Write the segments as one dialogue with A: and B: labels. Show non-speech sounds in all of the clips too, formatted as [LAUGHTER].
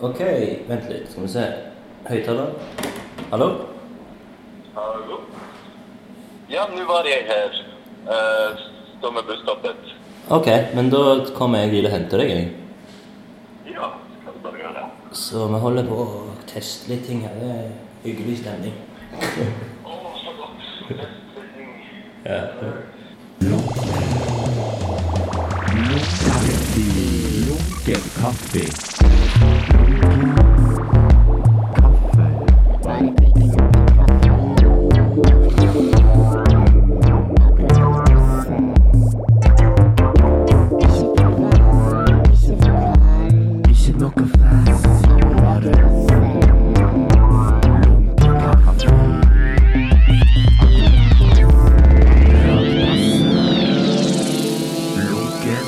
A: Ok, vent litt. Skal vi se. Høyttaler. Hallo?
B: Hallo? Ja, nå var jeg her. Uh, står med busstoppet.
A: Ok, men da kommer jeg til å hente deg. jeg.
B: Ja, skal du bare gjøre det.
A: Så vi holder på å teste litt ting her. Det er hyggelig stemning.
B: Å, så godt.
C: Lunken kaffe. Ikke noe fast. Bare lunken kaffe. Lunken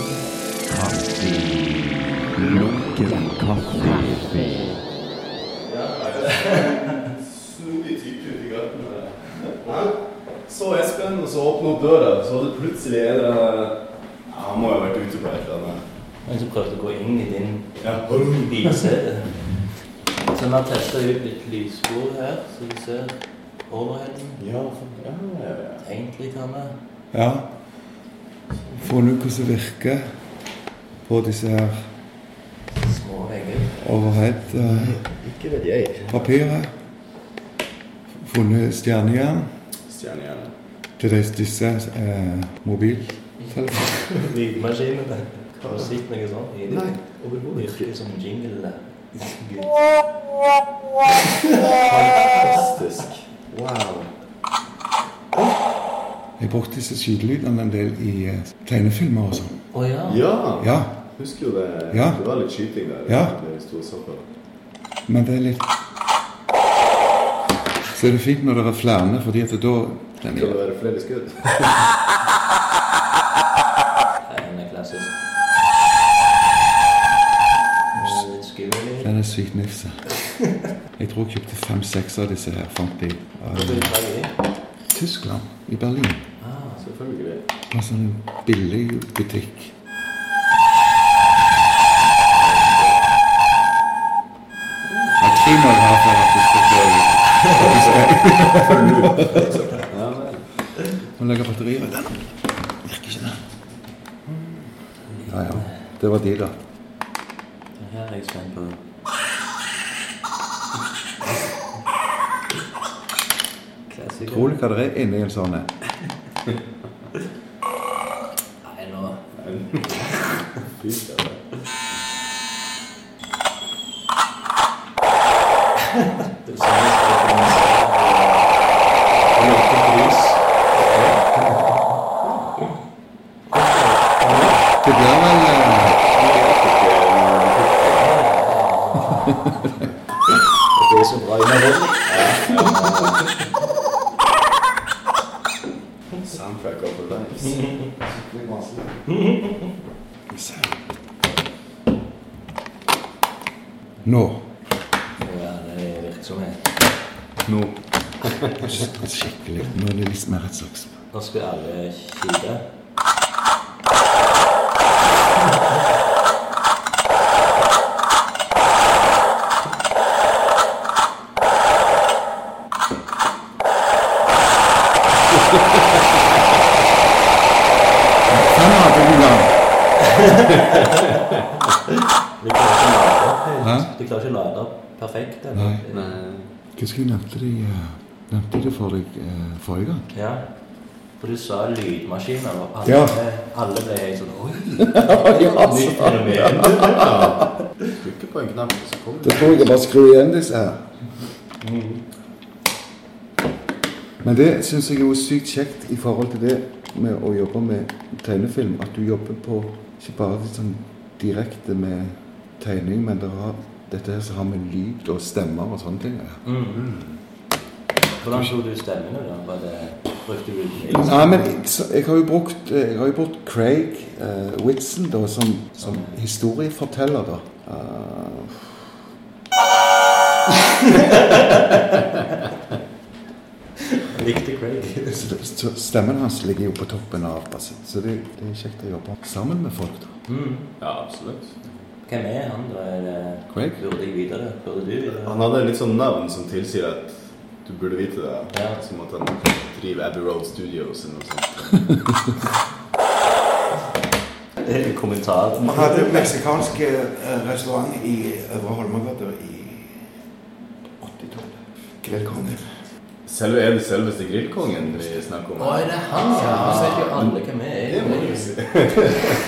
C: kaffe. Lunken kaffe.
D: snodig type ute i gaten. der. Hæ? Så Espen, og så åpna opp døra, så var det plutselig en eller annen ja, Han må jo ha vært ute på et eller annet.
A: Men så prøvde jeg å gå inn i din
D: Ja, boom.
A: bilsete. Så vi har testa ut litt lysspor her, så vi ser overheaden.
D: ja, faen, ja, ja, ja.
A: Tenkt litt her med.
E: Ja. Funnet ut hvordan det virker på disse her
A: Små vegger.
E: overhead-papiret.
D: Ikke vet jeg.
E: Funnet stjernejern
D: Stjernehjerne.
E: til disse- disse eh, mobiltelefonene.
A: Lydmaskinene. Har du sett noe sånt? i det?
E: Nei,
A: Det virker som jingle der. Gud.
D: Fantastisk. Wow.
E: Jeg brukte disse skytelydene en del i eh, tegnefilmer og sånn.
A: Å ja.
D: Ja.
E: Ja,
D: Husker jo det.
E: Ja.
D: Det var litt skyting der.
E: Ja.
D: Det vi sto og så på.
E: men det er litt Så er det fint når det er flere, fordi at da den
D: Skal det være flere skudd?
A: Nei, Den er klassisk. Og litt skummel.
E: Den er sykt nifse. Jeg tror jeg kjøpte fem-seks av disse her, fant de.
A: Hvor
E: av
A: er det?
E: Tyskland, i Berlin.
A: Ah,
D: Selvfølgelig.
E: En sånn billig butikk. Jeg tror man har for at du skal få
D: Ja, vel.
E: Må legge batterier i den. Virker ikke den. Ja, ja. Det var de, da.
A: den her er jeg spent på. Klassiker.
E: Utrolig hva det er inni en sånn en.
A: Nei, nå.
D: Fy søren.
A: Det er sånn jeg skal kunne se.
D: Lite brus.
E: Det blir vel eh,
A: Det er så bra underholdning.
D: Soundtrack of our lives.
E: skal vi se. Nå.
A: Ja, det er virksomhet.
E: Nå. Altså, Skikkelig. Nå er det litt mer et slags
A: Nå skal alle kile.
E: Fem av dem, da.
A: De klarer ikke å lade opp. helt.
E: Hæ?
A: De klarer ikke å lade opp perfekt. eller?
E: Nei. Husker jeg nevnte det, eh, nevnte det for deg eh, forrige gang.
A: Ja. For du sa lydmaskiner, og alle,
E: Ja.
A: alle ble helt sånn Oi!
E: [LAUGHS] Ja,
A: Nytt fenomen.
D: Trykker på en knapp, så kommer
E: Da
D: det.
E: tror jeg jeg bare skrur igjen disse her. Men det syns jeg jo er sykt kjekt i forhold til det med å jobbe med tegnefilm. At du jobber på ikke bare litt sånn direkte med tegning, men det har, dette her som har med lyd og stemmer og sånne ting å gjøre.
A: Mhm. Hvordan så du stemmene, da? Var det, brukte du
E: Nei, men så, jeg har jo brukt, eh, jeg har jo brukt Craig eh, Whitson da, som, som historieforteller, da. Eh,
A: Likte Craig.
E: Eh, så, det- så stemmen hans ligger jo på toppen av basset, så det, det er kjekt å jobbe sammen med folk, da.
D: Ja, absolutt.
A: Mhm. Hvem er han, da? Er det
F: Craig?
A: Burde jeg vite det? Burde du vite det?
D: Han hadde litt sånn navn som tilsier at du burde vite det.
A: Ja.
D: Som at han driver Abbey Road Studios eller noe sånt.
A: Det er en kommentar.
E: Vi hadde meksikansk eh, restaurant i Øvre Holmegata i 80-tallet. Grillkongen.
D: Selve, er det selveste grillkongen vi snakker om?
A: Å, er det han? Ja, han vet jo alle hvem jeg
D: Det må du
A: er.
D: si.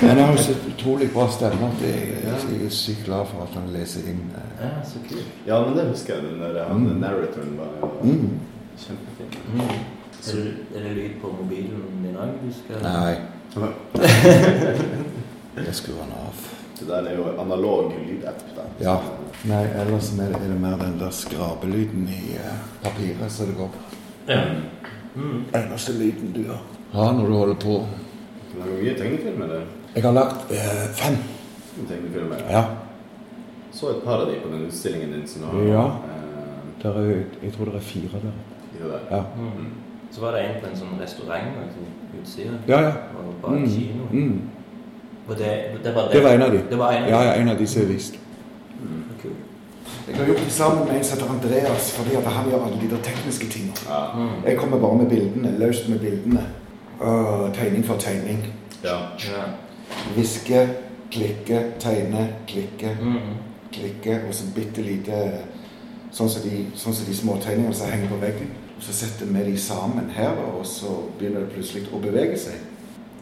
F: Men han har jo så utrolig bra stemme at jeg, jeg er sykt glad for at han leser inn. eh.
A: Ja, så kult.
D: Ja, men det husker jeg. Den der han, narratoren var
F: Mm.
D: kjempefin.
A: Mhm. Er det, er det lyd på mobilen din òg? Du skal
F: Nei. Jeg skrur han av.
D: Det der er jo en analog lydapp. da.
F: Ja. Nei, ellers er det, er det mer den der skrapelyden i eh, papiret som det går på.
A: Ja.
F: Eneste lyden du har. Ja, når du holder på.
D: Du lager mye tegnefilmer, eller?
F: Jeg har lagt eh, fem.
D: Tegnefilmer.
F: Ja.
D: Så et par av de på den utstillingen din som du har
F: Ja.
D: eh,
F: Der er, jo- jeg tror det er fire der.
D: i det der.
F: Ja.
A: Mm. Så var det en på en sånn restaurant altså, utsida.
F: Ja, ja.
A: Og bak
F: Mm.
A: kinoen.
F: Mm.
A: Og det, det var det.
F: Det var en av de.
A: Det var en av de.
F: Ja, ja, en av de som er vist.
A: Kult.
E: Jeg har gjort det sammen med en som heter Andreas, fordi at han gjør alle de der tekniske tingene.
D: Ja.
A: Mm.
E: Jeg kommer bare med bildene, løst med bildene. Øh, tegning for tegning.
D: ja.
A: Ja.
E: Hviske, klikke, tegne, klikke,
A: Mm.
E: klikke, og så bitte lite Sånn som de, sånn som de små tegningene som henger på veggen. Så setter vi de sammen her, da, og så begynner det plutselig å bevege seg.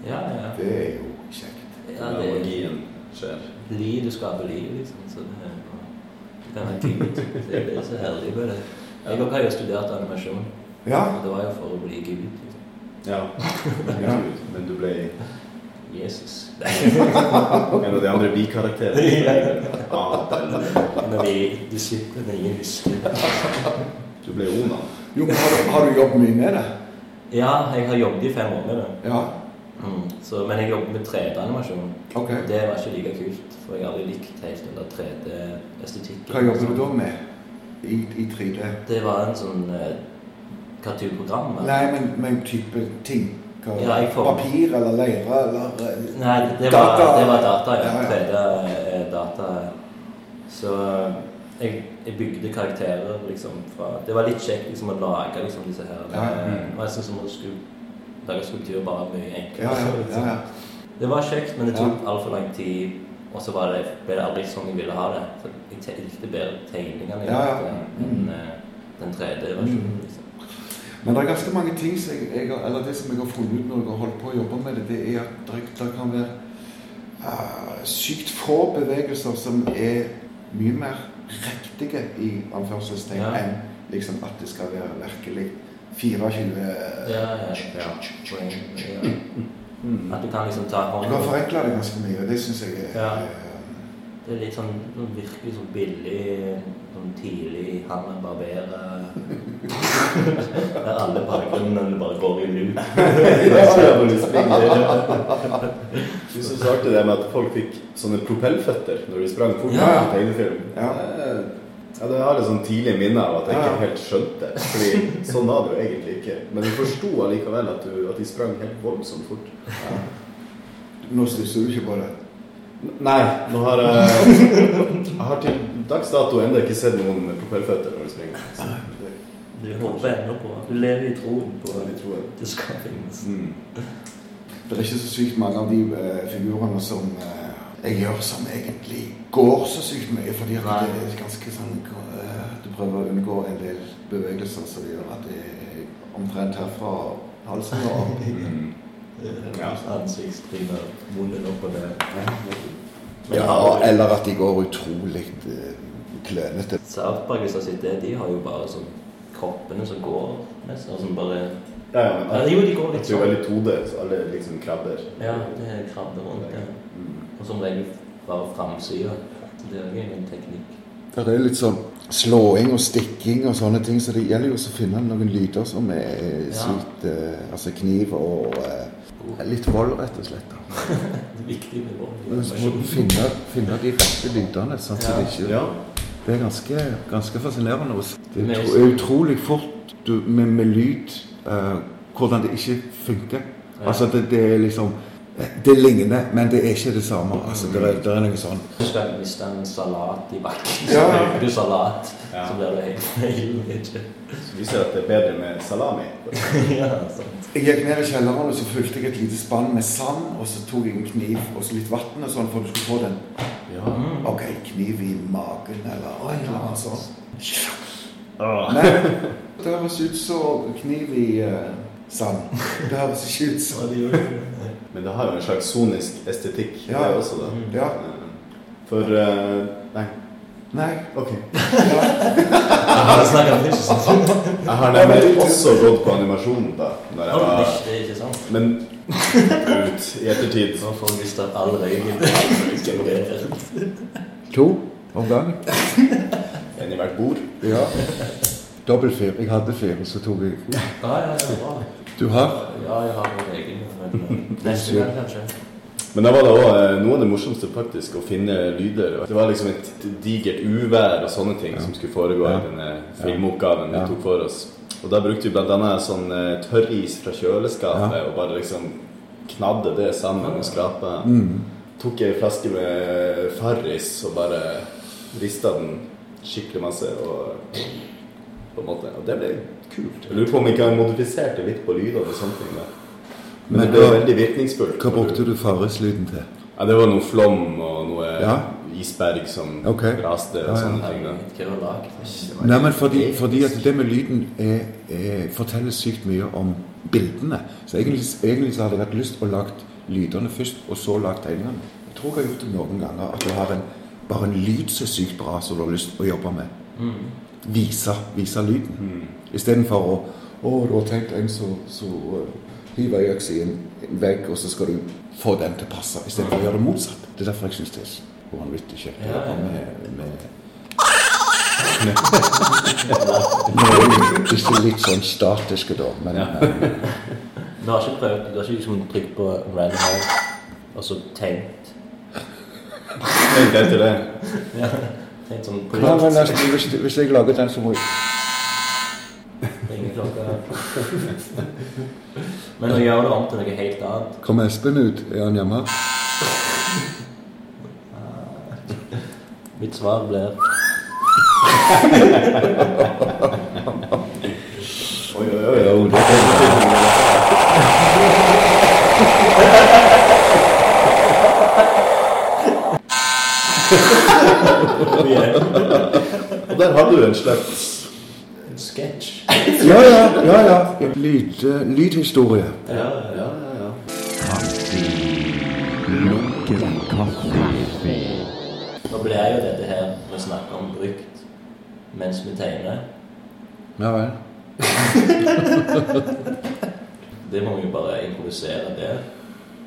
A: ja, ja.
E: Det er jo kjekt.
A: ja
D: Der
A: det er
D: magien skjer.
A: liv, det skaper liv, liksom. Så det er det er fint. Det er så herlig med det. Jeg også har jo studert animasjon,
E: Ja.
A: og det var jo for å bli gud. liksom.
F: [LAUGHS]
D: Ja. Men du ble
A: Jesus.
D: en av de andre
E: [LAUGHS]
D: bikarakterene. Ja.
A: Når vi disiplene ingen husker.
D: Du ble
E: [LAUGHS]
D: Onan.
E: Jo, men har, du- har du jobbet mye med det?
A: Ja, jeg har jobbet i fem år med det.
E: Ja.
A: Mm. Så, men jeg jobbet med 3D-animasjon.
E: Ok.
A: Det var ikke like kult, for jeg har aldri likt helt den der 3D-estetikken.
E: Hva jobber du da med i, i 3D?
A: Det var en sånn eh, cartoon-program. eller?
E: Nei, men med type ting. Hva,
A: Ja, jeg får-
E: Papir eller leire eller eh,
A: Nei, det var data, det var data ja.
E: Ja, ja.
A: 3D-data. Så jeg, jeg bygde karakterer liksom fra Det var litt kjekt liksom, å lage liksom, disse her.
E: Ja, ja.
A: eh, Og jeg syns man skulle lage skulptur bare mye
E: Ja,
A: enklere. liksom.
E: ja, ja, ja.
A: Det var kjekt, men det
E: Ja.
A: tok altfor lang tid. Og så var det, ble det aldri sånn jeg ville ha det. For jeg te- likte bedre tegningene jeg
E: Ja, Mm. ja.
A: lagde, enn eh, den 3D-versjonen. liksom.
E: Men det er ganske mange ting som jeg, jeg, har- eller det som jeg har funnet ut når jeg har holdt på å jobbe med det, det er at det, det kan være eh, sykt få bevegelser som er mye mer riktige i anførselstegn
A: Ja.
E: enn liksom at det skal være virkelig 24
A: Ja, ja. Poeng, ja. At du kan liksom ta
E: Du
A: hånd
E: kan forenkle det ganske mye, og det syns jeg er
A: Ja.
E: eh,
A: Det er litt sånn sånn virkelig sånn billig, sånn tidlig Hanna [LAUGHS] Barbera Der alle bakgrunnene bare går i loop.
D: [LAUGHS] Du synes det er artig det med at folk fikk sånne propellføtter når de sprang fort
E: Ja.
D: i tegnefilm.
E: Ja.
D: Eh, Ja, det har et sånn tidlig minne av at jeg
E: Ja.
D: ikke helt skjønte. Fordi sånn var det jo egentlig ikke. Men du forsto allikevel at, du, at de sprang helt voldsomt fort.
E: Nå stusser du ikke på det.
D: Nei, nå har jeg Jeg har til dags dato ennå ikke sett noen med propellføtter når de springer. Så det
A: Du håper ennå på Du lever i troen på
D: er litt troen.
A: at det skal finnes.
D: Mm.
E: Det er ikke så sykt mange av de eh, figurene som eh, jeg gjør, som egentlig går så sykt mye. Fordi at
A: Nei.
E: det er ganske sånn eh, Du prøver å unngå en del bevegelser som gjør at det er omtrent herfra halsen og opp.
A: [LAUGHS]
D: Mm. Ja.
A: Ansiktstryner, munnen opp og ned. Men
F: Ja,
A: har-
F: eller at de går utrolig eh, klønete.
A: South Park hvis jeg sier det, de har jo bare sånn kroppene som går nesten. og som bare
D: Ja, ja, men
A: Ja, Jo, de går
D: at
A: litt
D: du er
A: sånn.
D: veldig todelt. så Alle liksom krabber.
A: Ja, det er krabber rundt. Ja.
D: Mm.
A: Og som regel bare framsida. Det er jo en teknikk.
F: Det er litt sånn slåing og stikking og sånne ting, så det gjelder jo også å finne noen lyder som er
A: Ja.
F: sykt eh, Altså kniv og eh, litt vold, rett og slett. da.
A: Det er viktig med vold. i
F: Men så må du
A: animasjon.
F: finne, finne de rette lydene. sånn at
A: Ja.
F: Det ikke...
D: Ja.
F: Det er ganske, ganske fascinerende. å se. Det
A: Men-
F: er utro- utrolig fort du, med, med lyd eh, hvordan det ikke funker.
A: Ja.
F: Altså det, det er liksom Det ligner, men det er ikke det samme. Altså, det, er, det er noe sånn.
A: Hvis det hvis det er en salat i bakken, så
E: Ja, ja.
A: bruker du salat.
D: Ja.
A: Så blir det helt feil. ikke?
D: Så viser det at det er bedre med salami.
A: ja, sant.
E: Jeg gikk ned i kjelleren og så fylte jeg et lite spann med sand. Og så tok jeg en kniv og så litt vann og sånn for at du skulle få den.
D: Ja.
E: Ok, kniv i magen eller et eller annet sånt.
D: Ah.
E: Nei, det høres ut som kniv i eh, sand. Det høres ikke ut som
D: Men det har jo en slags sonisk estetikk,
E: Ja.
D: det også, da.
E: Ja.
D: For eh, Nei,
E: Nei.
D: OK.
A: Jeg snakker ikke sånn. sant?
D: Jeg har nemlig også gått på animasjon, da. Når jeg var,
A: Det er ikke sant.
D: men ut i ettertid.
A: Nå får vi starte all røyken.
F: To om gangen.
D: En i hvert bord.
F: Ja. Dobbelt fire. Jeg hadde fire, så tok jeg
A: Ja, ja, ja, bra.
F: Du har?
A: Ja, jeg har min egen. men, eh, Neste gang, kanskje.
D: Men da var det også eh, noe av det morsomste faktisk å finne lyder. Det var liksom et digert uvær og sånne ting som skulle foregå
F: Ja.
D: i denne filmoppgaven vi
F: Ja.
D: tok for oss. Og da brukte vi bl.a. sånn eh, tørris fra kjøleskapet og bare liksom knadde det sammen og skrapa.
F: Mm.
D: Tok ei flaske med Farris og bare rista den skikkelig masse og på en måte. Og det ble kult. Jeg lurer på om jeg ikke har modifisert det litt på lydene og sånne ting. da. Men,
F: Men
D: det ble
F: hva-
D: veldig virkningsfullt.
F: Hva brukte du farrislyden til?
D: Ja, det var noe flom og noe
F: Ja.
D: isberg som
F: Ok.
D: raste og
F: Ja, ja.
D: sånne ting.
A: Herregud,
D: Da.
A: Hva har du lagd?
F: Nei, men fordi, fordi at det med lyden er, er, forteller sykt mye om bildene. Så egentlig, egentlig så hadde jeg hatt lyst å lage lydene først, og så lage tegningene. Jeg tror jeg har gjort det noen ganger, at du har en, bare en lyd som er sykt bra, som du har lyst å jobbe med. Vise, vise lyden. Istedenfor å Å, du har tenkt en så, så eh, hiver ei øks i en en vegg, og så skal du få den til å passe. Istedenfor å gjøre det motsatt. Det er derfor jeg syns det er så vanvittig kjekt å
A: Ja, ja.
F: jobbe med, med Ikke litt sånn statiske, da, men eh,
A: Du har ikke prøvd, du har ikke liksom trykt på random house, og så tenkt,
D: Tenk etter det.
A: tenkt sånn på
F: Nei, men
A: luft,
F: altså, hvis, hvis jeg lager den, så må jeg
A: ringe klokka. Men å gjøre det om til noe helt annet,
F: Kom Espen ut? Er han hjemme?
A: mitt svar blir,
D: Oi, oi, oi. oi. Det er
A: Oh,
D: Og der har du en slags
A: en sketch.
F: Ja, ja. ja, ja. Lyd, eh, lydhistorie.
A: Ja, ja.
C: Kaffe. Lunken kaffe.
A: Nå blir jo dette her vi snakker om brukt mens vi tegner.
F: Ja vel.
A: Det må vi jo bare improvisere der,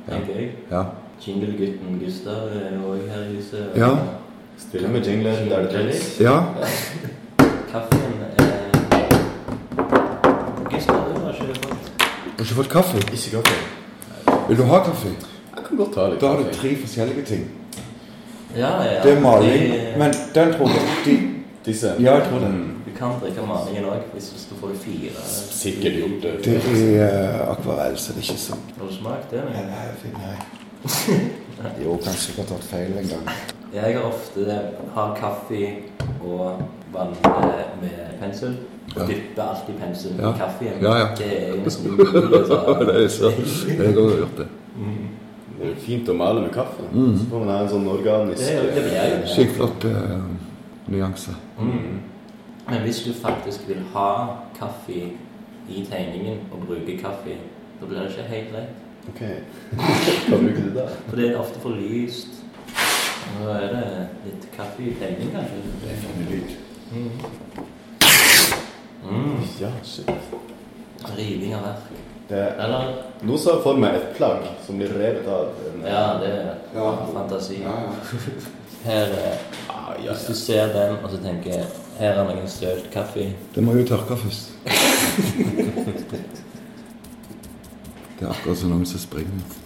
A: tenker jeg.
F: Ja.
A: Jingle-gutten Gustav er jo også her i huset.
F: Ja.
D: Stille med jingler der det trengs.
F: ja.
A: Kaffen er... Gustav, du har ikke fått.
F: Har ikke fått kaffe?
D: Ikke kaffe.
F: Vil du ha kaffe?
D: Jeg kan godt ta litt
F: Da har du
D: kaffe.
F: tre forskjellige ting.
A: Ja, ja. eh,
F: Det er maling,
A: det-
F: men den tror jeg de,
D: Disse.
F: Ja, jeg tror det.
D: Mm.
A: Du kan drikke malingen òg, hvis du får det fire.
D: Sikkert gjort det.
F: Det er [LAUGHS] eh, akvarell, så det er ikke sånn.
A: Har du smakt det?
F: Nei,
A: eller?
F: nei, fint, nei. [LAUGHS] Jo, kanskje jeg har tatt feil en gang.
A: Jeg har ofte har kaffe og vann eh, med pensel.
F: Ja.
A: Dypper alltid penselen
F: Ja.
A: i kaffen.
F: Ja, ja.
A: Det er jo liksom umulig.
F: så Jeg har gjort det.
D: Det er jo fint å male med kaffe.
F: Mm.
D: Så får man ha en sånn organisk
A: Det er jo- det blir jo det.
F: Sykt flott eh, nyanse.
A: Men hvis du faktisk vil ha kaffe i tegningen og bruke kaffe, da blir det ikke helt rett.
D: Ok. [LAUGHS] Hva bruker du da?
A: For det er ofte for lyst. Nå er det litt kaffe i tegningen, kanskje. Mm.
D: Ja, shit.
A: Riving av verk.
D: Det er
A: Eller
D: Nå så jeg for meg et plagg som blir revet av en
A: Ja, det er
E: Ja.
A: fantasi.
E: Ja, ja.
A: [LAUGHS] Her, eh,
D: Ah, ja,
A: hvis du
D: ja.
A: ser den og så tenker her er noen sølt kaffe
F: Det må jo tørke [LAUGHS] først. det er akkurat som noen som springer.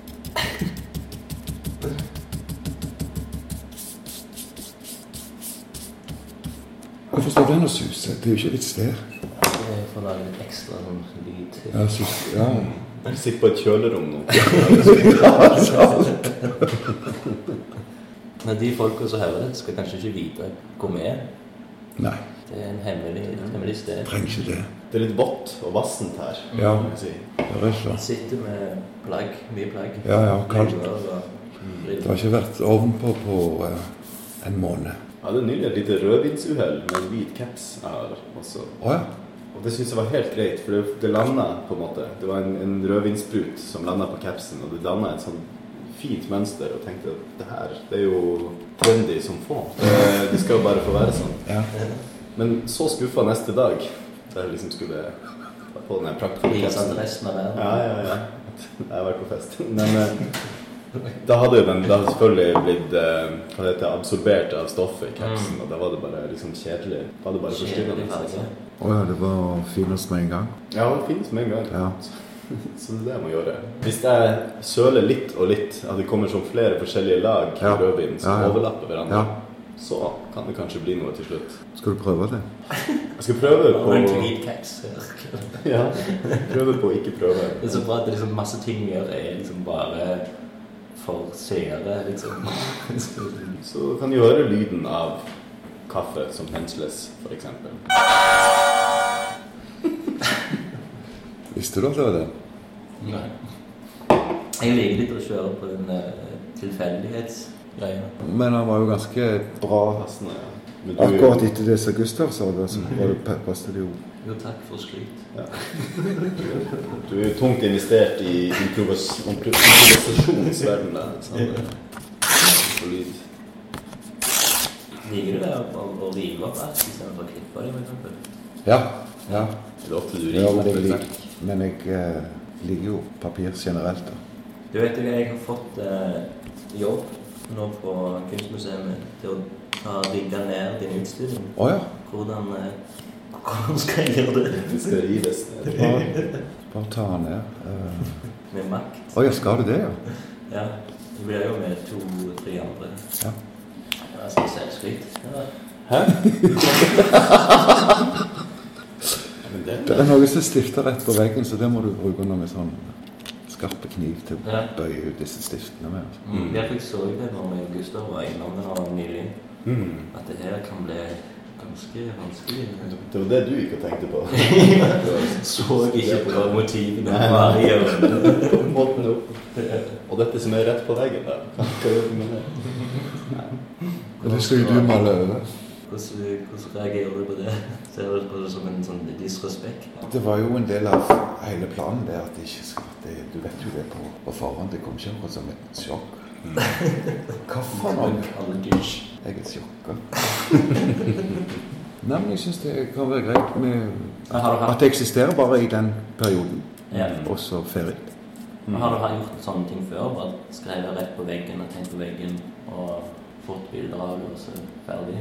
F: Hvorfor står den og suser? Det er jo ikke vits der.
A: Jeg får lage litt ekstra sånn lyd.
F: Ja, sus, ja.
D: Jeg sitter på et kjølerom nå.
A: Men de folka som hører det, skal kanskje ikke vite hvor vi er.
F: Nei,
A: Det er en hemmelig, et hemmelig sted.
F: trenger ikke det.
D: Det er litt vått og vassent her.
F: Ja.
D: Kan jeg si.
F: Det er ikke
A: Jeg sitter med plagg, mye plagg.
F: Ja, ja, kaldt. Det
A: Kaldt.
F: har ikke vært ovenpå på eh, en måned.
D: Jeg hadde nylig et lite rødvinsuhell med en hvit caps jeg har også.
F: Å ja.
D: Og det syns jeg var helt greit, for det, det landa på en måte. Det var en, en rødvinsprut som landa på capsen, og det danna et sånn fint mønster. Og tenkte at det her, det er jo trendy som få. Det, det skal jo bare få være sånn.
F: ja.
D: Men så skuffa neste dag, da jeg liksom skulle ta på den her praktfulle
A: Prisen
D: capsen.
A: til resten av verden.
D: Ja, ja, ja. Jeg har vært på fest. Men eh, da hadde jo den da hadde selvfølgelig blitt eh, hva heter det, absorbert av stoffet i capsen, og da var det bare liksom kjedelig. Da var det bare
A: Mm. Kjedelig
D: forstyrrende.
A: farge.
F: Å ja, det var finest med en gang.
D: Ja, det finnes med en gang.
F: Ja.
D: [LAUGHS] Så det er det jeg må gjøre. Hvis jeg søler litt og litt, at det kommer som flere forskjellige lag
F: Ja.
D: rødvin som
F: Ja, ja.
D: overlapper hverandre,
F: ja.
D: så kan det kanskje bli noe til slutt.
F: Skal du prøve det?
D: Jeg skal prøve
A: Det var en
D: på
A: tweed cakes her.
D: [LAUGHS] ja, Prøve på å ikke prøve.
A: Det er så bra at det er liksom masse ting vi gjør, er liksom bare for seere, liksom.
D: Så kan du høre lyden av kaffe som hensles, f.eks.
F: Visste du at det var det?
A: Nei. Jeg liker litt å kjøre på den uh, tilfeldighetsgreia.
F: Men han var jo ganske bra.
D: Passende. ja. Men du-
F: Akkurat etter det som Gustav sa, det, så var det, pa- passet det jo.
A: Jo, takk for skryt.
D: Du er jo tungt investert i improvis- improvisasjonsverdenen der. sant? Og lyd.
A: Liker du det å- å å rive opp alt istedenfor å klippe det, for eksempel?
F: Ja. ja.
D: Det er ofte du
F: ja men jeg
D: ringer opp.
F: liker, men jeg, eh, liker jo papir generelt. da.
A: Du vet jo, jeg har fått eh, jobb nå på Kunstmuseet til å ta rigge ned din utstilling.
F: Å ja.
A: Hvordan, eh, hvordan skal jeg gjøre det?
D: Det skal rives ned.
F: Bare, bare ta han ned. Eh,
A: Med makt?
F: Å ja, skal du det, ja?
A: Ja. Det blir jo med to-tre andre.
F: Ja.
A: Altså selvskryt. Ja.
D: Men det
F: Det er noe som stifter rett på veggen, så det må du bruke noe med sånn skarpe kniv til å
A: Ja.
F: bøye ut disse stiftene med. altså.
A: Mm. Jeg fikk så det når meg og Gustav var innom det nå nylig,
D: mm.
A: at det her kan bli ganske vanskelig.
D: Det var det du ikke tenkte på. [LAUGHS]
A: Så jeg ikke på motivene bare gjør
D: Måten opp. Og dette som er rett på veggen der, hva gjør du med det?
F: Det skal jo du male over.
A: Hvordan, hvordan reagerer du på det? Ser du på det som en sånn disrespekt?
F: Det var jo en del av hele planen det at det ikke skal det, Du vet jo det på, på forhånd. Det kom ikke akkurat som et sjokk. [LAUGHS] Hva faen? Ann?
A: Algish.
F: Jeg er [LAUGHS] sjokka. Nei, men jeg syns det kan være greit med
A: Har du
F: at
A: hatt,
F: det eksisterer bare i den perioden,
A: ja.
F: og så ferie.
A: har du hatt gjort sånne ting før? Bare skrevet rett på veggen og tenkt på veggen og fått bilder av det, og så ferdig?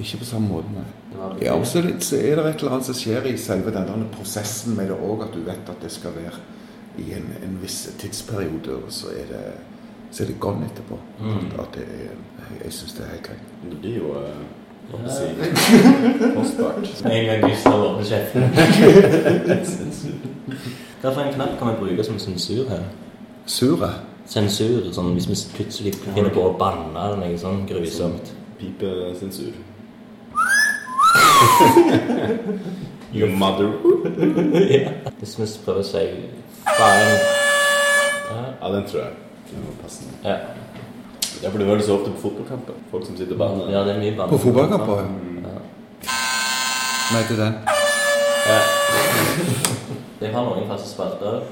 F: Ikke på samme måte, nei.
A: Det var
F: Ja, og så litt- så er det et eller annet som skjer i selve den der prosessen med det òg, at du vet at det skal være i en, en viss tidsperiode, og så er det, så er det gone etterpå.
A: Mm.
F: At det er, jeg- jeg syns det er helt greit.
D: Det blir jo eh, hva skal jeg
F: [LAUGHS]
D: si, kostbart.
A: Med en gang Gustav åpner kjeften. Hva for en knapp kan vi bruke som sensur her?
F: Sure.
A: Sensur, sånn hvis vi plutselig finner på å banne eller noe sånn grusomt.
F: [LAUGHS]
D: Pipesensur. Your mother
A: Hvis vi prøver å si faen
D: Ja, den tror jeg. Den var passende.
A: Ja. ja.
D: Ja, for du hører det så ofte på fotballkamper. Folk som sitter og banner.
A: ja, det er mye banne.
F: På fotballkamper? ja.
A: Ja.
F: Nei, til den.
A: Ja. Jeg har noen faste spalter.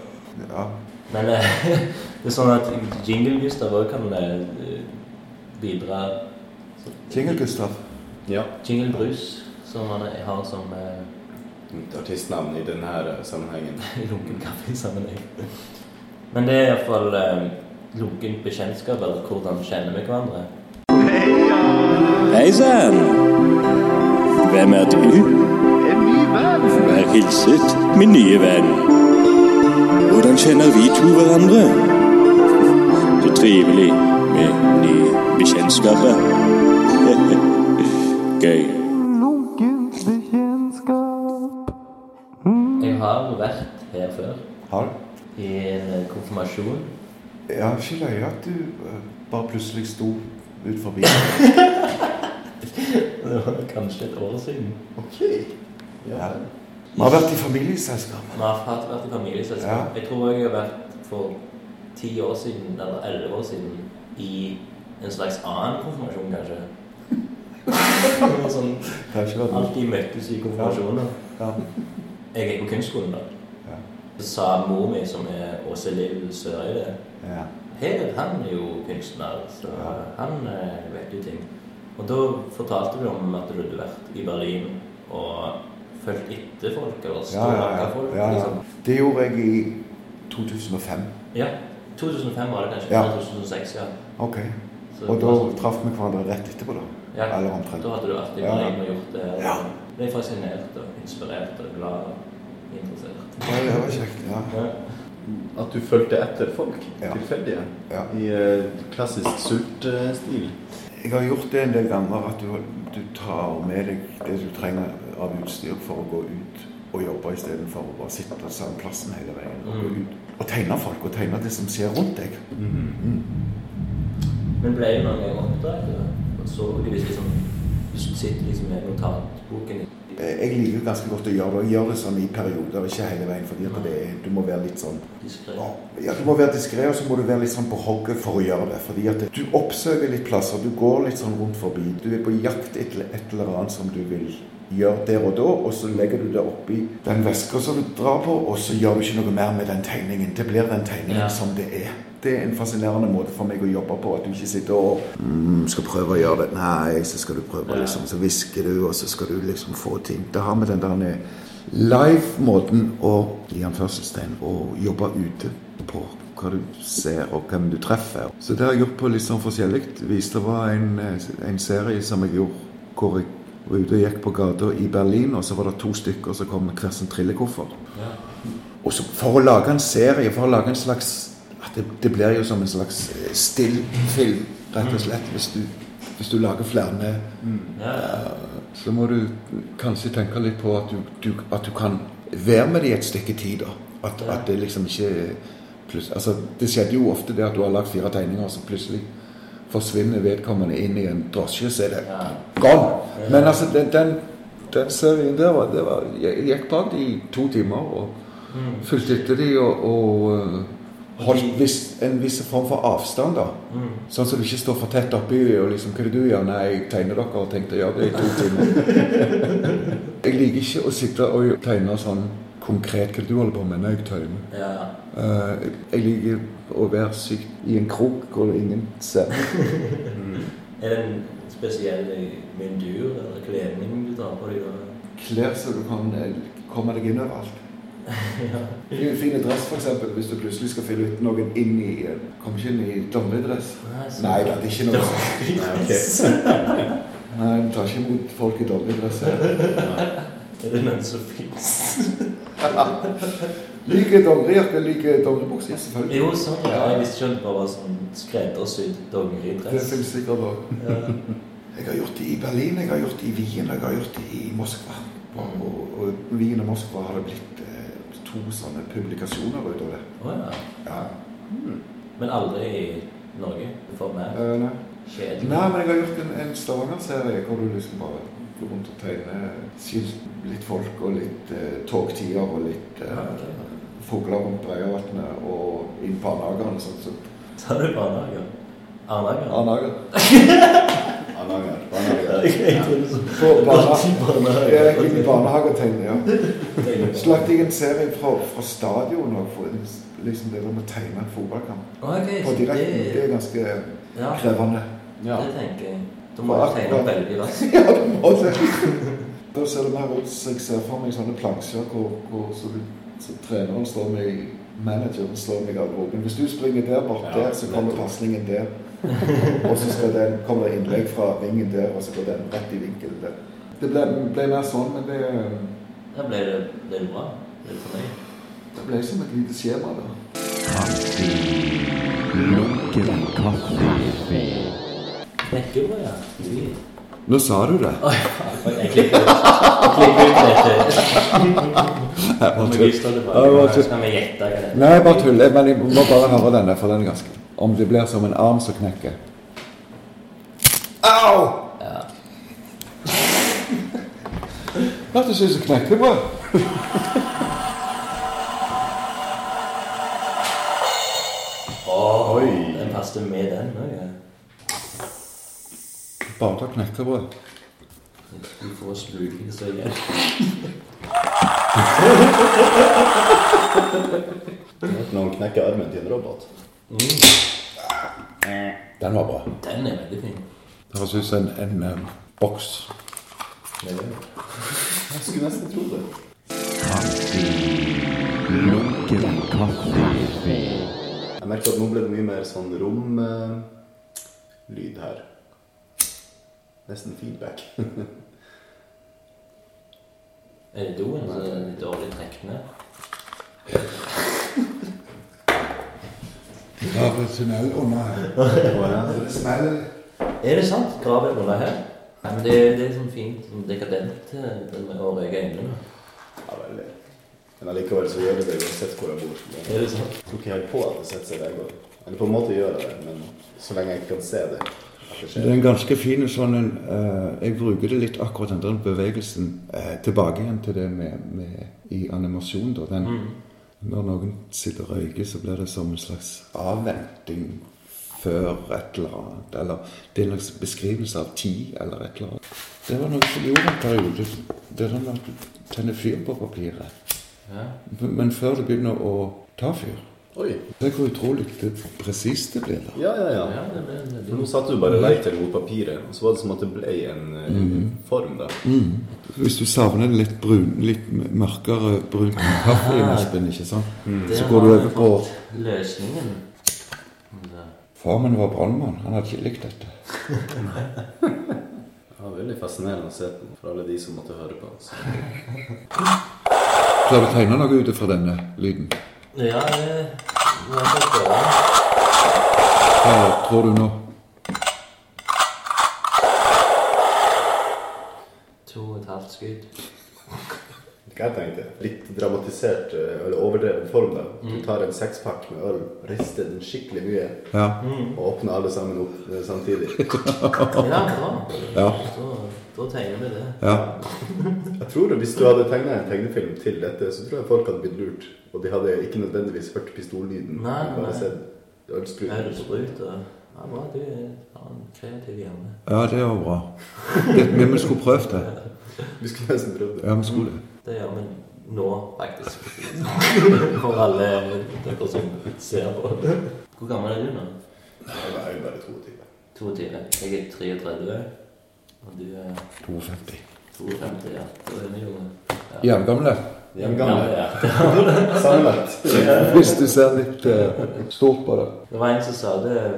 F: Ja.
A: Men eh, [LAUGHS] det er sånn at Jingle-Gustav òg kan eh, bidra.
F: Jingle, Gustav.
D: Ja.
A: Jingle-brus, som han har som eh, [LAUGHS]
D: Mitt artistnavn i denne sammenhengen.
A: lunken kaffe i sammenheng. Men det er iallfall eh, lunkent bekjentskap, eller hvordan kjenner vi hverandre.
G: Hei sann! Hvem er du? En ny venn. Vær hilset, min nye venn. Hvordan kjenner vi to hverandre? Så trivelig med nye bekjentskaper. [LAUGHS] Gøy.
A: Jeg har vært her før.
F: Har du?
A: i en eh, konfirmasjon.
E: Jeg har ikke løyet at du eh, bare plutselig sto ut
F: [LAUGHS]
E: forbi.
A: Det var kanskje et år siden.
E: Ja. Vi har vært i familieselskap.
A: Vi har hatt- vært i familieselskap. Jeg tror også jeg har vært for ti år siden, eller elleve år siden, i en slags annen konfirmasjon, kanskje. Det var sånn,
E: Det har ikke vært noe.
A: alltid møttes i konfirmasjoner.
E: Ja.
A: Jeg gikk på kunstskolen da.
E: Ja.
A: Så sa mor mi, som er Åse Liv Søreide
E: Ja.
A: Per, han er jo kunstner, så han eh, vet jo ting. Og da fortalte du om at du hadde vært i Berlin og fulgt etter folk, eller
E: Ja, ja, ja.
A: stalka folk.
E: ja, ja.
A: liksom.
E: Det gjorde jeg i 2005.
A: Ja. 2005 var det kanskje.
E: Ja.
A: 2006, ja.
E: Ok.
A: Så
E: Og
A: det
E: da
A: var sånn-
E: traff vi hverandre rett etterpå, da.
A: ja,
E: Eller omtrent.
A: Da hadde du vært i
E: Ja, ja.
A: Berlin og gjort det. og
E: Ja.
A: Ble fascinert og inspirert og glad og interessert.
E: Ja, det var kjekt. Ja.
A: Ja.
D: At du fulgte etter folk?
E: Ja.
D: Tilfeldige?
E: Ja.
D: I eh, klassisk sult-stil?
E: Jeg har gjort det en del ganger at du, du tar med deg det du trenger av utstyr for å gå ut og jobbe istedenfor å bare sitte på samme plassen hele veien. Og, gå
A: Mm.
E: ut. og tegne folk, og tegne det som skjer rundt deg.
A: Men ble du noen gang oppdaget? Og så du visste liksom Du sitter liksom med notatboken i
E: Eh, Jeg liker ganske godt å gjøre det. Jeg gjør det sånn i perioder, ikke hele veien. fordi at det, er- du må være litt sånn
A: diskré.
E: Ja, Du må være diskré, og så må du være litt sånn på hogget for å gjøre det. fordi at du oppsøker litt plasser, du går litt sånn rundt forbi. Du er på jakt etter et eller annet som du vil gjøre der og da, og så legger du det oppi den veska som du drar på, og så gjør du ikke noe mer med den tegningen. Det blir den tegningen
A: Ja.
E: som det er. Det er en fascinerende måte for meg å jobbe på. At du ikke sitter og mm, skal prøve å gjøre det. Nei, så skal du prøve,
A: Ja.
E: liksom. Så hvisker du, og så skal du liksom få ting. Det har med den der eh, live-måten å i anførselstegn, å jobbe ute på hva du ser og hvem du treffer. Så det har jeg gjort på litt sånn forskjellig vis. Det var en, eh, en serie som jeg gjorde hvor jeg var ute og gikk på gata i Berlin, og så var det to stykker som kom med hver sin trillekoffert.
A: Ja.
E: Og så for å lage en serie, for å lage en slags at det, det blir jo som en slags eh, stillfilm, rett og slett, hvis du, hvis du lager flere
A: Ja, ja.
E: Mm. så må du kanskje tenke litt på at du, du, at du kan være med det i et stykke tid. da. At,
A: Ja.
E: at det liksom ikke plutselig- altså, Det skjedde jo ofte det at du har lagt fire tegninger, og så plutselig forsvinner vedkommende inn i en drosje, så er det
A: Ja.
E: gone. Men altså, den, den, den serien der var, det var Jeg gikk bak de i to timer og fulgte etter de og, og øh, holdt viss, en viss form for avstand, da. Sånn at du ikke står for tett oppi og liksom Hva er det du gjør? Nei, jeg tegner dere og tenkte å gjøre det i to timer. jeg liker ikke å sitte og tegne sånn konkret hva er det du holder på med når jeg tegner.
A: ja.
E: Eh, jeg- jeg liker å være syk i en krok hvor ingen ser.
A: Er det en spesiell mundur eller kledning du tar på deg da?
E: Klær så du kan eh, komme deg inn [LAUGHS] overalt. En fin dress, f.eks., hvis du plutselig skal fylle ut noen inn i eh, Kommer ikke inn i dommeridress. Nei da, det er
A: [LAUGHS]
E: ikke noe Nei, du tar ikke imot folk i dommeridress. [LAUGHS]
A: Er det noen som fins?
E: Liker dongerijakke, liker dongeribukse, ja, selvfølgelig.
A: Jo, sånn, ja. Jeg visste ikke om det bare var sånn skreddersydd
E: Det
A: dongeridress.
E: finnes sikkert òg.
A: Ja.
E: Jeg har gjort det i Berlin, jeg har gjort det i Wien, jeg har gjort det i Moskva. Og, og, og Wien og Moskva har det blitt eh, to sånne publikasjoner ut av det.
A: Å, ja.
E: Ja.
A: Men aldri i Norge. For meg.
E: Eh, nei.
A: Kjedelig.
E: Nei, men jeg har gjort en, en Stavanger-serie hvor du liksom bare går rundt og tegner skilt, litt folk og litt eh, togtider og litt eh,
A: Ja, ok.
E: fugler rundt Breiavatnet og inn på Arnageren og sånt. Så.
A: Tar du barnehager? Arnager?
E: Arnager.
D: Hardanger. Hardanger.
A: [LAUGHS] Jeg trodde så-
E: På
A: Alltid
E: barnehage. Jeg
A: barnehager.
E: gikk inn i barnehage og tegnet, ja.
A: Ok.
E: Så lagde jeg en serie fra, fra stadion og for, liksom det der med å tegne en fotballkamp.
A: Ok,
E: På
A: så
E: direkten, det
A: det
E: er ganske
A: Ja,
E: krevende.
D: Ja.
A: det tenker jeg. Da må du tegne opp veldig raskt.
E: Ja, du må det. [LAUGHS] Da ser det mer ut som jeg ser for meg sånne plansjer hvor, hvor så, så treneren slår meg Manageren slår meg av ropen. Hvis du springer der bort
D: Ja,
E: der, så kommer
D: nettopp.
E: pasningen der. og så skal den, kommer det innlegg fra vingen der, og så går den rett i vinkelen der. Det ble, ble mer sånn, men det,
A: Da ble det, ble det bra. Ble det fornøyd.
E: det ble som et lite skjema. da.
C: Kaffe. Lunken kaffe.
A: Knekkebrød, ja. Ui.
F: Nå sa du det.
A: Oi, Jeg klipper ut jeg klipper ut dette. Kan vi
F: Nei, bare tull.
A: vise det
F: Ja, det var
A: tilbake?
F: tull.
A: Kan vi gjette hva det er?
F: Nei, bare tull. Jeg- Men jeg må bare høre denne, for den er ganske Om det blir som en arm som knekker. Au!
A: Ja.
F: Hørtes ut som knekkebrød.
A: Åh,
D: Oi.
A: den passet med den òg.
F: Bare ta knekkebrød.
A: Du får sluking så igjen.
D: Noen knekker armen til en robot.
F: Den var bra.
A: Den er veldig fin.
F: Det høres ut som en, en eh, boks.
A: Det er det.
D: Jeg skulle nesten tro det.
C: Lunken kaffe.
D: Jeg merker at nå ble det mye mer sånn romlyd her. Nesten feedback. [LAUGHS]
A: Er det doen som er dårlig trukket ned?
F: Jeg har en tunnel under her. Det smeller.
A: Er det sant? Graven under her? Nei, men det, det er sånn fint sånn dekadent eh, det med å røyke øynene.
D: Ja, veldig. Men allikevel så gjør det det uansett hvor jeg bor. Jeg
A: Er det sant?
D: tror ikke helt på at det setter seg der går. Eller på en måte gjør jeg det, men så lenge jeg ikke kan se det. at det
F: Det er
D: skjer.
F: en ganske fin sånn en eh, Jeg bruker det litt akkurat den der bevegelsen eh, tilbake igjen til det med, med i animasjon, da. Den, Når noen sitter og røyker, så blir det som en slags avventing før et eller annet. Eller det er en slags beskrivelse av tid eller et eller annet. Det var noe som gjorde en periode. Det er den at du tenner fyr på papiret.
A: Ja.
F: Men før du begynner å ta fyr.
D: Oi.
F: Det er hvor utrolig det- presist det blir. da.
D: Ja, ja, ja.
A: Ja, det ble veldig
D: For nå satt du bare og lekte mot papiret, og så var det som at det ble en eh, form, da.
F: Hvis du savner det litt brun, litt mørkere [LAUGHS] brun kaffe i nespen, ikke sant? Mm, Så går du over på
A: Løsningen. Ja.
F: Formen var brannmann. Han hadde ikke likt dette.
D: Ja, veldig fascinerende å se på for alle de som måtte høre på. Så.
F: Klarer du å tegne noe ut fra denne lyden?
A: Ja, det Nå er det bra.
F: Hva tror du nå?
A: To og et halvt skudd.
D: Hva jeg tenkte? Litt dramatisert eh, eller overdreven form. da. Du tar en sekspakk med øl, rister den skikkelig mye
F: Ja.
D: og åpner alle sammen opp eh, samtidig.
A: Ja, bra.
F: Ja.
A: Da, da tegner vi det.
F: ja.
D: Jeg tror Hvis du hadde tegna en tegnefilm til dette, så tror jeg folk hadde blitt lurt. Og de hadde ikke nødvendigvis hørt pistollyden.
A: Nei,
D: de bare
A: nei.
D: sett ølspruten.
A: Ølsprut og Ja, bra. Du har en kreativ hjerne.
F: ja, det var bra. Det, men vi skulle prøvd det.
D: Vi skulle nesten prøvd det.
F: Ja, vi skulle det.
A: Det gjør vi nå, faktisk. [LAUGHS] For alle dere som ser på. Hvor gammel er du nå?
D: Jeg er jo bare 22.
A: 22. Jeg er 33. Og du er
F: 52.
A: 52, ja. Da er vi jo
F: Jevngamle.
D: Hjemgammel.
A: Ja, ja.
D: Sammenlagt.
F: Hvis du ser litt eh, stort på det.
A: Det var en som sa det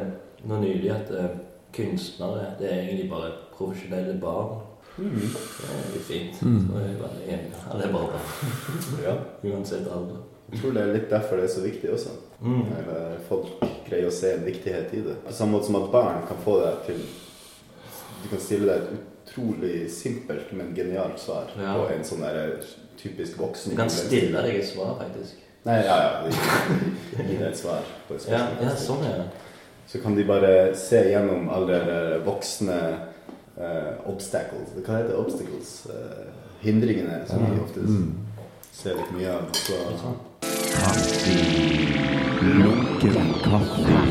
A: nå nylig, at eh, kunstnere det er egentlig bare profesjonelle barn. Det er litt fint. Så er jeg bare enig. Alle er bare barn.
D: Ja.
A: Uansett alder. Mm.
D: Jeg tror det er litt derfor det er så viktig også. Eller Folk greier å se en viktighet i det. På samme måte som at barn kan få deg til Du kan stille deg et utrolig simpelt, men genialt svar
A: Ja.
D: på en sånn der typisk voksen
A: Du kan stille deg et svar, faktisk.
D: Nei, ja, ja. det- Gi deg et svar på et
A: Ja,
D: spørsmål.
A: ja sånn er det.
D: Så kan de bare se gjennom alle de der voksne eh, obstacles Hva heter det? obstacles? Eh, hindringene, som de ofte ser litt mye av. Så
A: Sånn.
C: Lunken kaffe.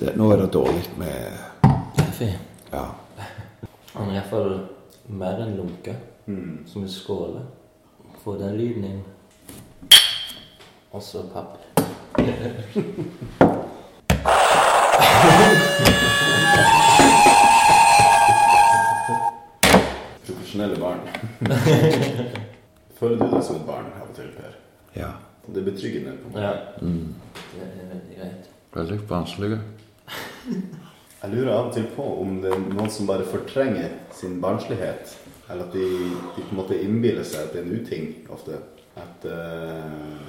F: det. Nå er det dårlig med
A: Kaffe.
F: Ja.
A: [LAUGHS] Han er iallfall mer enn lunke, som en skåle. Få den lyden inn. Og så papp.
D: profesjonelle barn. Føler du deg som et barn av og til, Per?
F: ja.
D: Og det er betryggende. på en måte.
A: Ja. Det er veldig greit.
F: Veldig vanskelig.
D: Jeg lurer av og til på om det er noen som bare fortrenger sin barnslighet. Eller at de, de på en måte innbiller seg at det er en uting ofte. At, eh,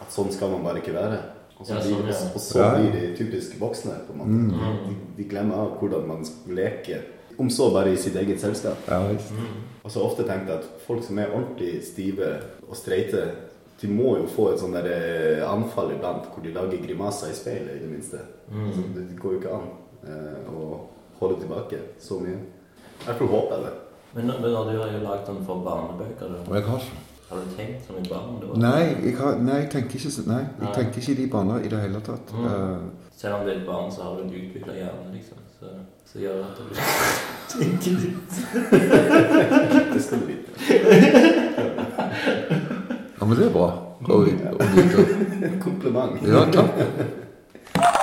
D: at sånn skal man bare ikke være. Og så,
A: Ja,
D: blir,
A: sånn, ja.
D: og så blir de typisk voksne. på en måte. De, de glemmer av hvordan man leker om så bare i sitt eget selskap.
F: Ja, visst.
D: Og så har jeg ofte tenkt at folk som er ordentlig stive og streite, de må jo få et sånn der eh, anfall iblant hvor de lager grimaser i speilet, i det minste. Så
A: Mm.
D: det går jo ikke an eh, å holde tilbake så mye. I hvert fall håper jeg det.
A: Men, men når du har jo lagd den for barnebøker,
F: Og
A: da,
F: jeg har ikke.
A: har du tenkt som et barn? da?
F: Nei, jeg har, nei, jeg tenker ikke så- Nei, jeg tenker ikke i de baner i det hele tatt. Eh,
A: Selv om du er et barn, så har du en utvikla hjerne, liksom. Så, så gjør det at du tenker litt.
D: Det skal du vite.
F: ja, men det er bra. Og, og vite.
D: Et kompliment.
F: Ja, takk.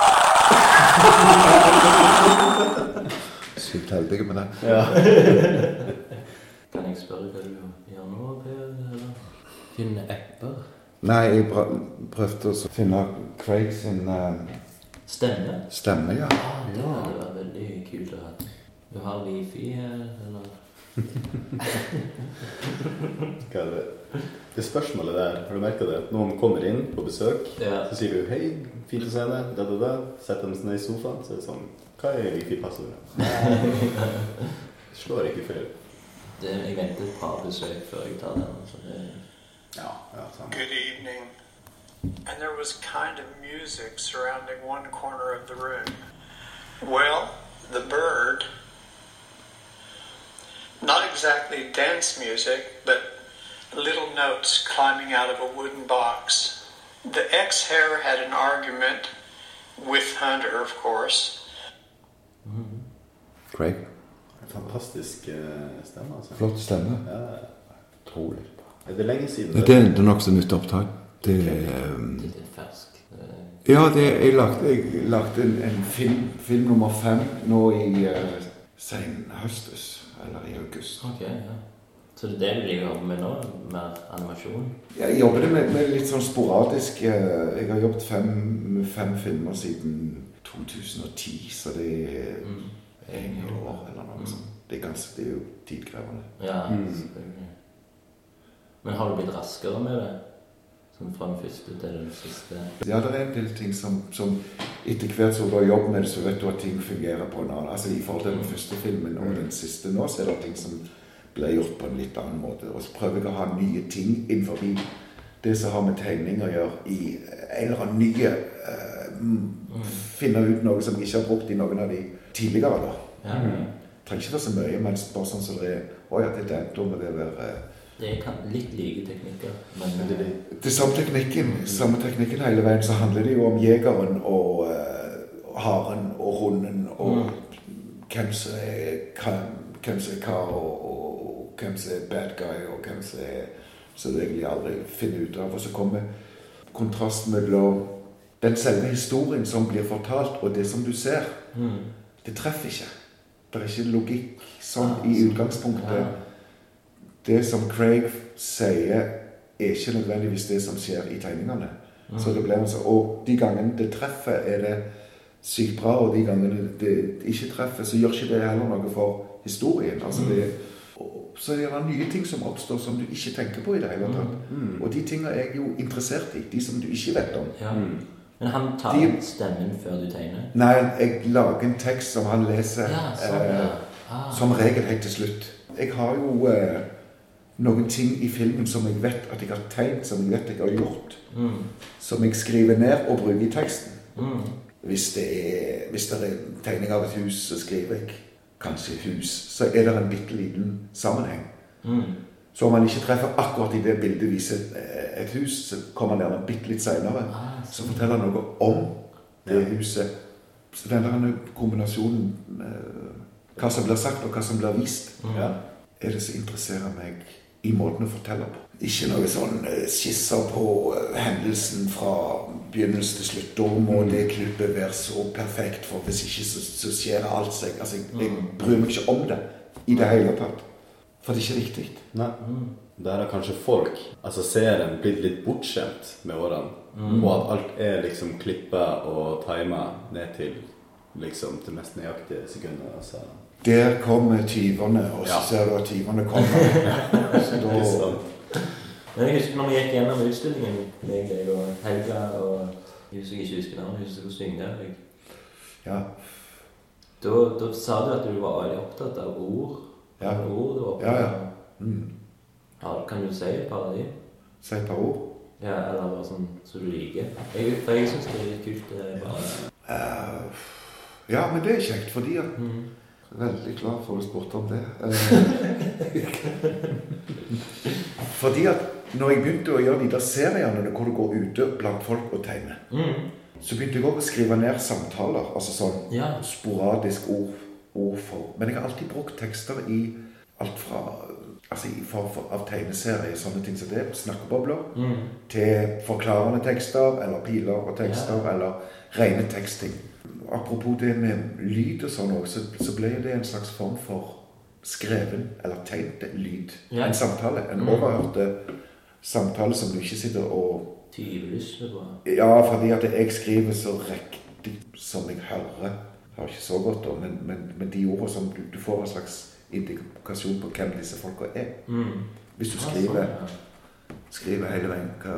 F: Sykt heldige med det.
A: Kan jeg spørre hva du gjør nå, Per? eller? Finne apper?
F: Nei, jeg bra- prøvde å finne Craig sin eh,
A: Stemme?
F: stemme, ja.
A: Ah, det hadde vært veldig kult å ha. Du har wifi her, eller?
D: Hva er det? det spørsmålet der, har du merka det? Noen kommer inn på besøk,
A: Ja.
D: så sier du 'hei, fint å se deg', da, da, da. Setter dem seg ned i sofaen, så er det sånn Hva er [LAUGHS] wifi-passordet? Slår ikke feil.
A: Det, jeg venter et par besøk før jeg tar den. Så det,
D: Ja, ja, sånn. sant.
H: Good evening. And there was kind of music surrounding one corner of the room. Well, the bird, not exactly dance music, but little notes climbing out of a wooden box. The ex hare had an argument with Hunter, of course.
F: Craig.
D: Fantastisk eh, stemme, altså.
F: Flott stemme. Utrolig.
D: Er det lenge siden?
F: Det er, det er nokså nytt opptak. Det eh,
A: det er fersk. Eh,
F: Ja, det, jeg lagde jeg,
E: Jeg lagde en, en film, film nummer fem nå i uh, senhøstes, eller i august.
A: Ok, ja. Så det er det du driver og jobber med nå? Mer animasjon?
E: Jeg jobber med, med litt sånn sporadisk. eh, jeg har jobbet fem, med fem filmer siden 2010, så det er
A: Mm.
E: ene år eller noe sånt. Det er, ganske, det er jo tidkrevende.
A: Ja, selvfølgelig. Men har du blitt raskere med det? Sånn fra den første til den siste?
E: Ja, det er en del ting som, som etter hvert som du har jobb med det, så vet du at ting fungerer på en annen Altså I forhold til den første filmen og den siste nå, så er det ting som ble gjort på en litt annen måte. Og så prøver jeg å ha nye ting innenfor det som har med tegning å gjøre, i en eller annen nye eh, m- Finne ut noe som jeg ikke har brukt i noen av de tidligere, da.
A: Ja,
E: Trenger ikke være så mye, men bare sånn som det er Å ja, det er den, da må det være eh,
A: Det er kan- litt like teknikker, men
D: Det er
A: det
D: det.
E: Det er samme teknikken, samme teknikken hele veien, så handler det jo om jegeren og eh, haren og hunden og hvem som er hva, hvem som er hva og, og, og hvem som er bad guy og hvem som er Så det egentlig aldri finner ut av. Og så kommer kontrasten mellom den selve historien som blir fortalt, og det som du ser.
A: Mm.
E: Det treffer ikke. Det er ikke logikk sånn i utgangspunktet det som Craig sier, er ikke nødvendigvis det som skjer i tegningene. Så det blir altså, Og de gangene det treffer, er det sykt bra, og de gangene det ikke treffer, så gjør ikke det heller noe for historien.
A: Mm.
E: Altså det, og, så er det nye ting som oppstår som du ikke tenker på i det hele
A: Mm.
E: tatt. Og de tingene er jeg jo interessert i. De som du ikke vet om.
A: ja. Men han tar
E: De-
A: stemmen før du tegner?
E: Nei, jeg lager en tekst som han leser.
A: Ja, sånn, ja.
E: eh,
A: Ah.
E: Som regel helt til slutt. Jeg har jo eh, noen ting i filmen som jeg vet at jeg har tegnet, som jeg vet jeg har gjort.
A: mm,
E: Som jeg skriver ned og bruker i teksten. Hvis, det er, hvis det er en tegning av et hus, så skriver jeg kanskje hus. Så er det en bitte liten sammenheng.
A: mm.
E: Så om han ikke treffer akkurat i det bildet viser eh, et hus, så kommer han gjerne bitte litt seinere. Så forteller han noe om det huset. Så den der kombinasjonen eh, Hva som blir sagt, og hva som blir vist,
D: Ja.
E: er det som interesserer meg i måten å fortelle på. Ikke noe sånn eh, skisser på eh, hendelsen fra begynnelse til slutt. Da må det klippet være så perfekt, for hvis ikke så, så skjer alt seg. Altså, jeg, jeg bryr meg ikke om det i det hele tatt. For det er ikke riktig.
D: Nei. Der har kanskje folk, altså seeren, blitt litt bortskjemt med årene. Og at alt er liksom klippa og tima ned til liksom det mest nøyaktige sekundet. Altså.
E: Der kommer tyvene, og så
D: Ja.
E: ser du at tyvene kommer. så da,
D: Liksom.
A: Men jeg husker når vi gikk gjennom utstillingen, jeg, deg og Helga og Jeg husker jeg ikke husker navnet, jeg husker hvor synge det er.
E: ja.
A: Da, da sa du at du var veldig opptatt av ord.
E: Ja.
A: Ord du var opptatt
E: Ja, ja.
A: av. Ja, Kan du si et par av de?
E: Si et par ord.
A: Ja, eller bare sånn som du liker? Jeg, for jeg syns det er litt kult. Det er bare...
E: Eh, ja, men det er kjekt, fordi at Veldig glad for at du spurte om det. Eh, fordi at når jeg begynte å gjøre de der seriene hvor du går ute blant folk og tegner, så begynte jeg også å skrive ned samtaler. Altså sånn
A: Mm, Ja.
E: sporadisk ord, ord for Men jeg har alltid brukt tekster i alt fra Altså i form for, av tegneserier, sånne ting som det, snakkebobler,
A: Mm.
E: til forklarende tekster, eller piler og tekster, eller rene tekstting. Apropos det med lyd og sånn også, så, så ble det en slags form for skreven eller tegnet lyd.
A: Ja. Mm.
E: En samtale. En overhørte samtale som du ikke sitter og
A: Tyvelysne på.
E: ja, fordi at jeg skriver så riktig som jeg hører. Hører ikke så godt, da, men, men, men de ordene som du, du får en slags indikasjon på hvem disse folka er. Hvis du skriver,
A: Mm. Ja, sånn,
E: skriver hele veien hva,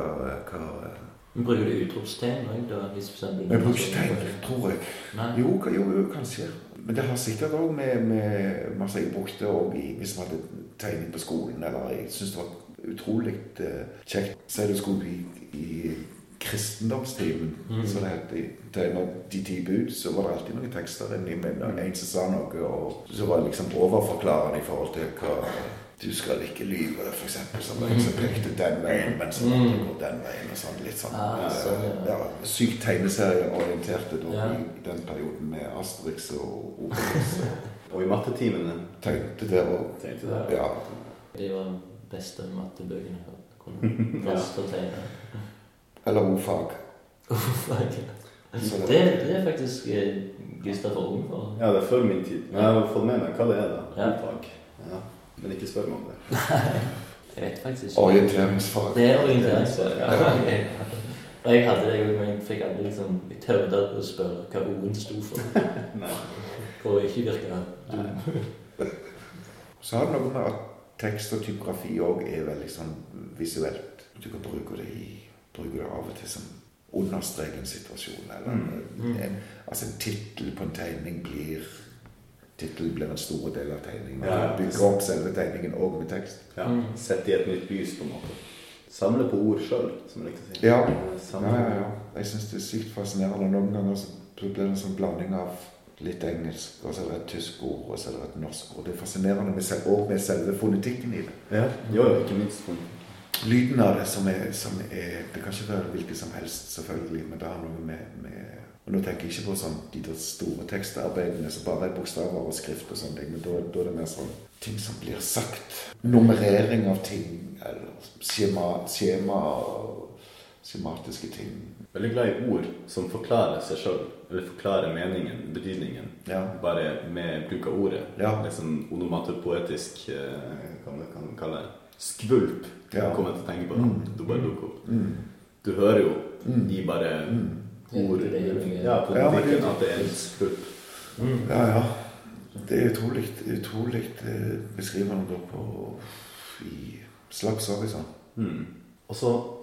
E: hva
A: ja. Men Bruker du utropstegn òg, da? Hvis for eksempel,
E: Jeg bruker ikke tegn, tror jeg.
A: Nei.
E: Jo, ka- jo, jo, kanskje. Men det har sikkert òg med, med masse jeg brukte og i, hvis vi hadde tegning på skolen. Eller jeg syns det var utrolig eh, kjekt. Si du skulle i, i kristendomstimen,
A: Mm.
E: så det het i- tegne de ti bud, så var det alltid noen tekster inni meg. Og en som sa noe, og så var det liksom overforklarende i forhold til hva du skal ikke lyve, for eksempel. Som en som pekte den veien, men så måtte det gå den veien. og sånn, Litt sånn.
A: Mm. Ah,
E: eh,
A: sånn, ja.
E: ja, sykt tegneserieorienterte da,
A: Ja.
E: i den perioden med Asterix og Obelix. [LAUGHS]
D: Og i mattetimene
E: Tegnte det òg.
D: tenkte jeg
E: Ja.
A: De var de beste mattebøkene jeg hadde.
E: [LAUGHS]
A: Kunne Best å tegne.
E: Eller ordfag. Så
A: Det, det er faktisk eh, Gustav Holm for.
D: Ja, det er før min tid. Men jeg har fått med meg hva det er, da.
A: Ja.
D: Fag. Ja. Men ikke spør meg om det.
A: Jeg vet faktisk ikke.
E: Orienteringsfag.
A: Det er orienteringsfag. Ja. ok. [LAUGHS] Og jeg hadde det jo, men jeg fikk aldri liksom Jeg tørde å spørre hva O-en sto [LAUGHS] for.
D: Nei.
A: For å ikke virke
E: Så har det noe med at tekst og typografi òg er veldig sånn visuelt. Du kan bruke det i Bruke det av og til som understreke en situasjon, eller
A: Mm.
E: En, Altså, en tittel på en tegning blir Tittelen blir en stor del av tegningen. Man
D: Ja.
E: bygger opp selve tegningen òg med tekst.
D: Ja. Sett i et nytt lys, på en måte. Samle på ord sjøl, som jeg likte å si.
E: Ja.
D: Samle.
E: Ja, ja, ja. Jeg syns det er sykt fascinerende. Noen ganger så blir det en sånn blanding av litt engelsk, og så er det et tysk ord, og så er det et norsk ord. Det er fascinerende med selv, og med selve fonetikken i det.
D: Ja. Jo, jo, ikke minst. Sånn.
E: Lyden av det som er, som er Det kan ikke være hvilken som helst, selvfølgelig, men det har noe med, med og Nå tenker jeg ikke på sånn, de der store tekstarbeidene som bare er bokstaver og skrift og sånne ting, men da, da er det mer sånn ting som blir sagt. Nummerering av ting, eller skjema, skjema skjematiske ting.
D: Veldig glad i ord som forklarer seg sjøl, eller forklarer meningen, betydningen.
E: Ja.
D: Bare med bruk av ordet.
E: Ja.
D: Litt sånn onomatopoetisk, eh, kan man kan man kalle det. Skvulp,
E: Ja. Mm.
D: kom jeg til å tenke på. da. Du bare dukker opp. Du hører jo i bare
E: Mm.
D: ord
A: Det er jo mye-
D: Ja, på
E: Ja, men
D: musikken
E: det-
D: at det er en skvulp.
E: Ja, ja. Det er utrolig, utrolig eh, beskrivende da på i Slagsvold, liksom.
D: Mm. Og så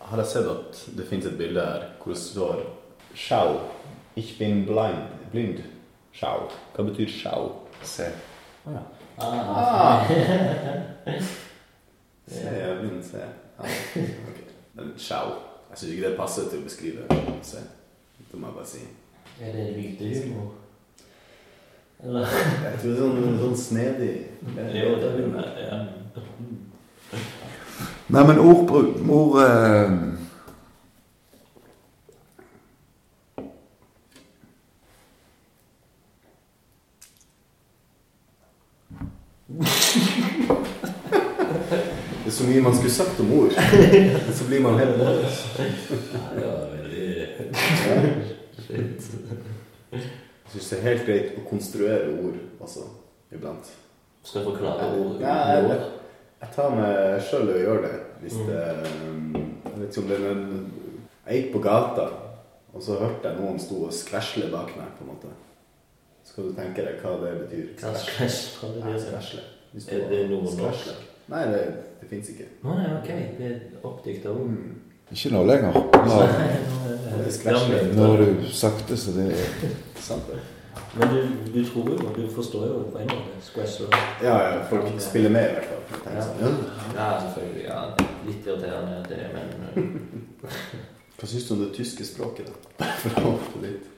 D: har jeg sett at det fins et bilde her hvor det står Schau. Ich bin blind. blind. Schau. Hva betyr schau?
E: Se.
D: Å ja.
A: ah, [LAUGHS]
D: Se, jeg er blind, se. Ja. ok. Men schau Jeg syns ikke det passer til å beskrive se. Det må jeg bare si.
A: Er det lydehumor? Eller
D: Jeg tror det er sånn, sånn snedig
A: Jo, det vil være ja.
F: Nei, men ord, bru- ord eh,
D: Det er så mye man skulle sagt om [LAUGHS] ord, så blir man helt borte.
A: Det var veldig Shit.
D: Jeg syns det er helt greit å konstruere ord også, iblant.
A: Skal jeg forklare ordet?
D: Nei, jeg, jeg tar meg sjøl og gjør det.
A: Mm.
D: Hvis det Jeg vet ikke om det er nød- Jeg gikk på gata, og så hørte jeg noen sto og skvæsle bak meg, på en måte. Så skal du tenke deg hva det betyr.
A: Hva skal jeg svare
D: Nei,
A: det?
D: skvæsle. De sto
A: Er det
D: og
A: nordnorsk?
D: skvæsle. Nei, det, det fins ikke.
A: Å nei, ok. Det er oppdikta ord.
F: Ikke nå lenger. Nå,
D: Det er
A: Det er
D: skvæsle.
A: omvendt.
F: nå er du sakte, så det er
D: Sant det?
A: Men du, du tror jo, og du forstår jo på en måte Squash og
D: Ja, ja, folk spiller med i hvert fall. Jeg tenker sånn, ja.
A: Ja, selvfølgelig. Ja, litt irriterende det, men eh.
D: Hva syns du om det tyske språket, da? [LAUGHS] For å hoppe dit.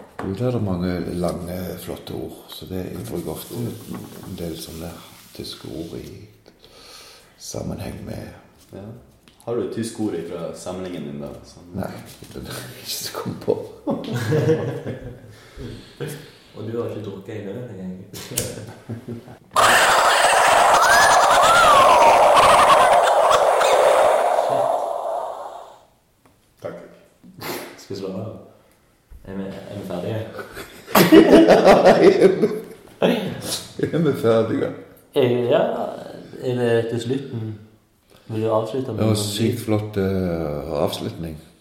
F: Jo, der er det mange lange, flotte ord. Så det jeg bruker ofte en del sånne tyske ord i sammenheng med
D: Ja. Har du et tysk ord fra samlingen din, da? Sånn.
F: Nei, det er [LAUGHS] ikke så kom på.
A: Og du har ikke drukket en øl engang.
D: Takk.
A: Skal vi slå av? Er vi, er vi ferdige?
F: Er vi ferdige?
A: Ja, er det til slutten? Vil du avslutte
F: Det var sykt flott eh, avslutning.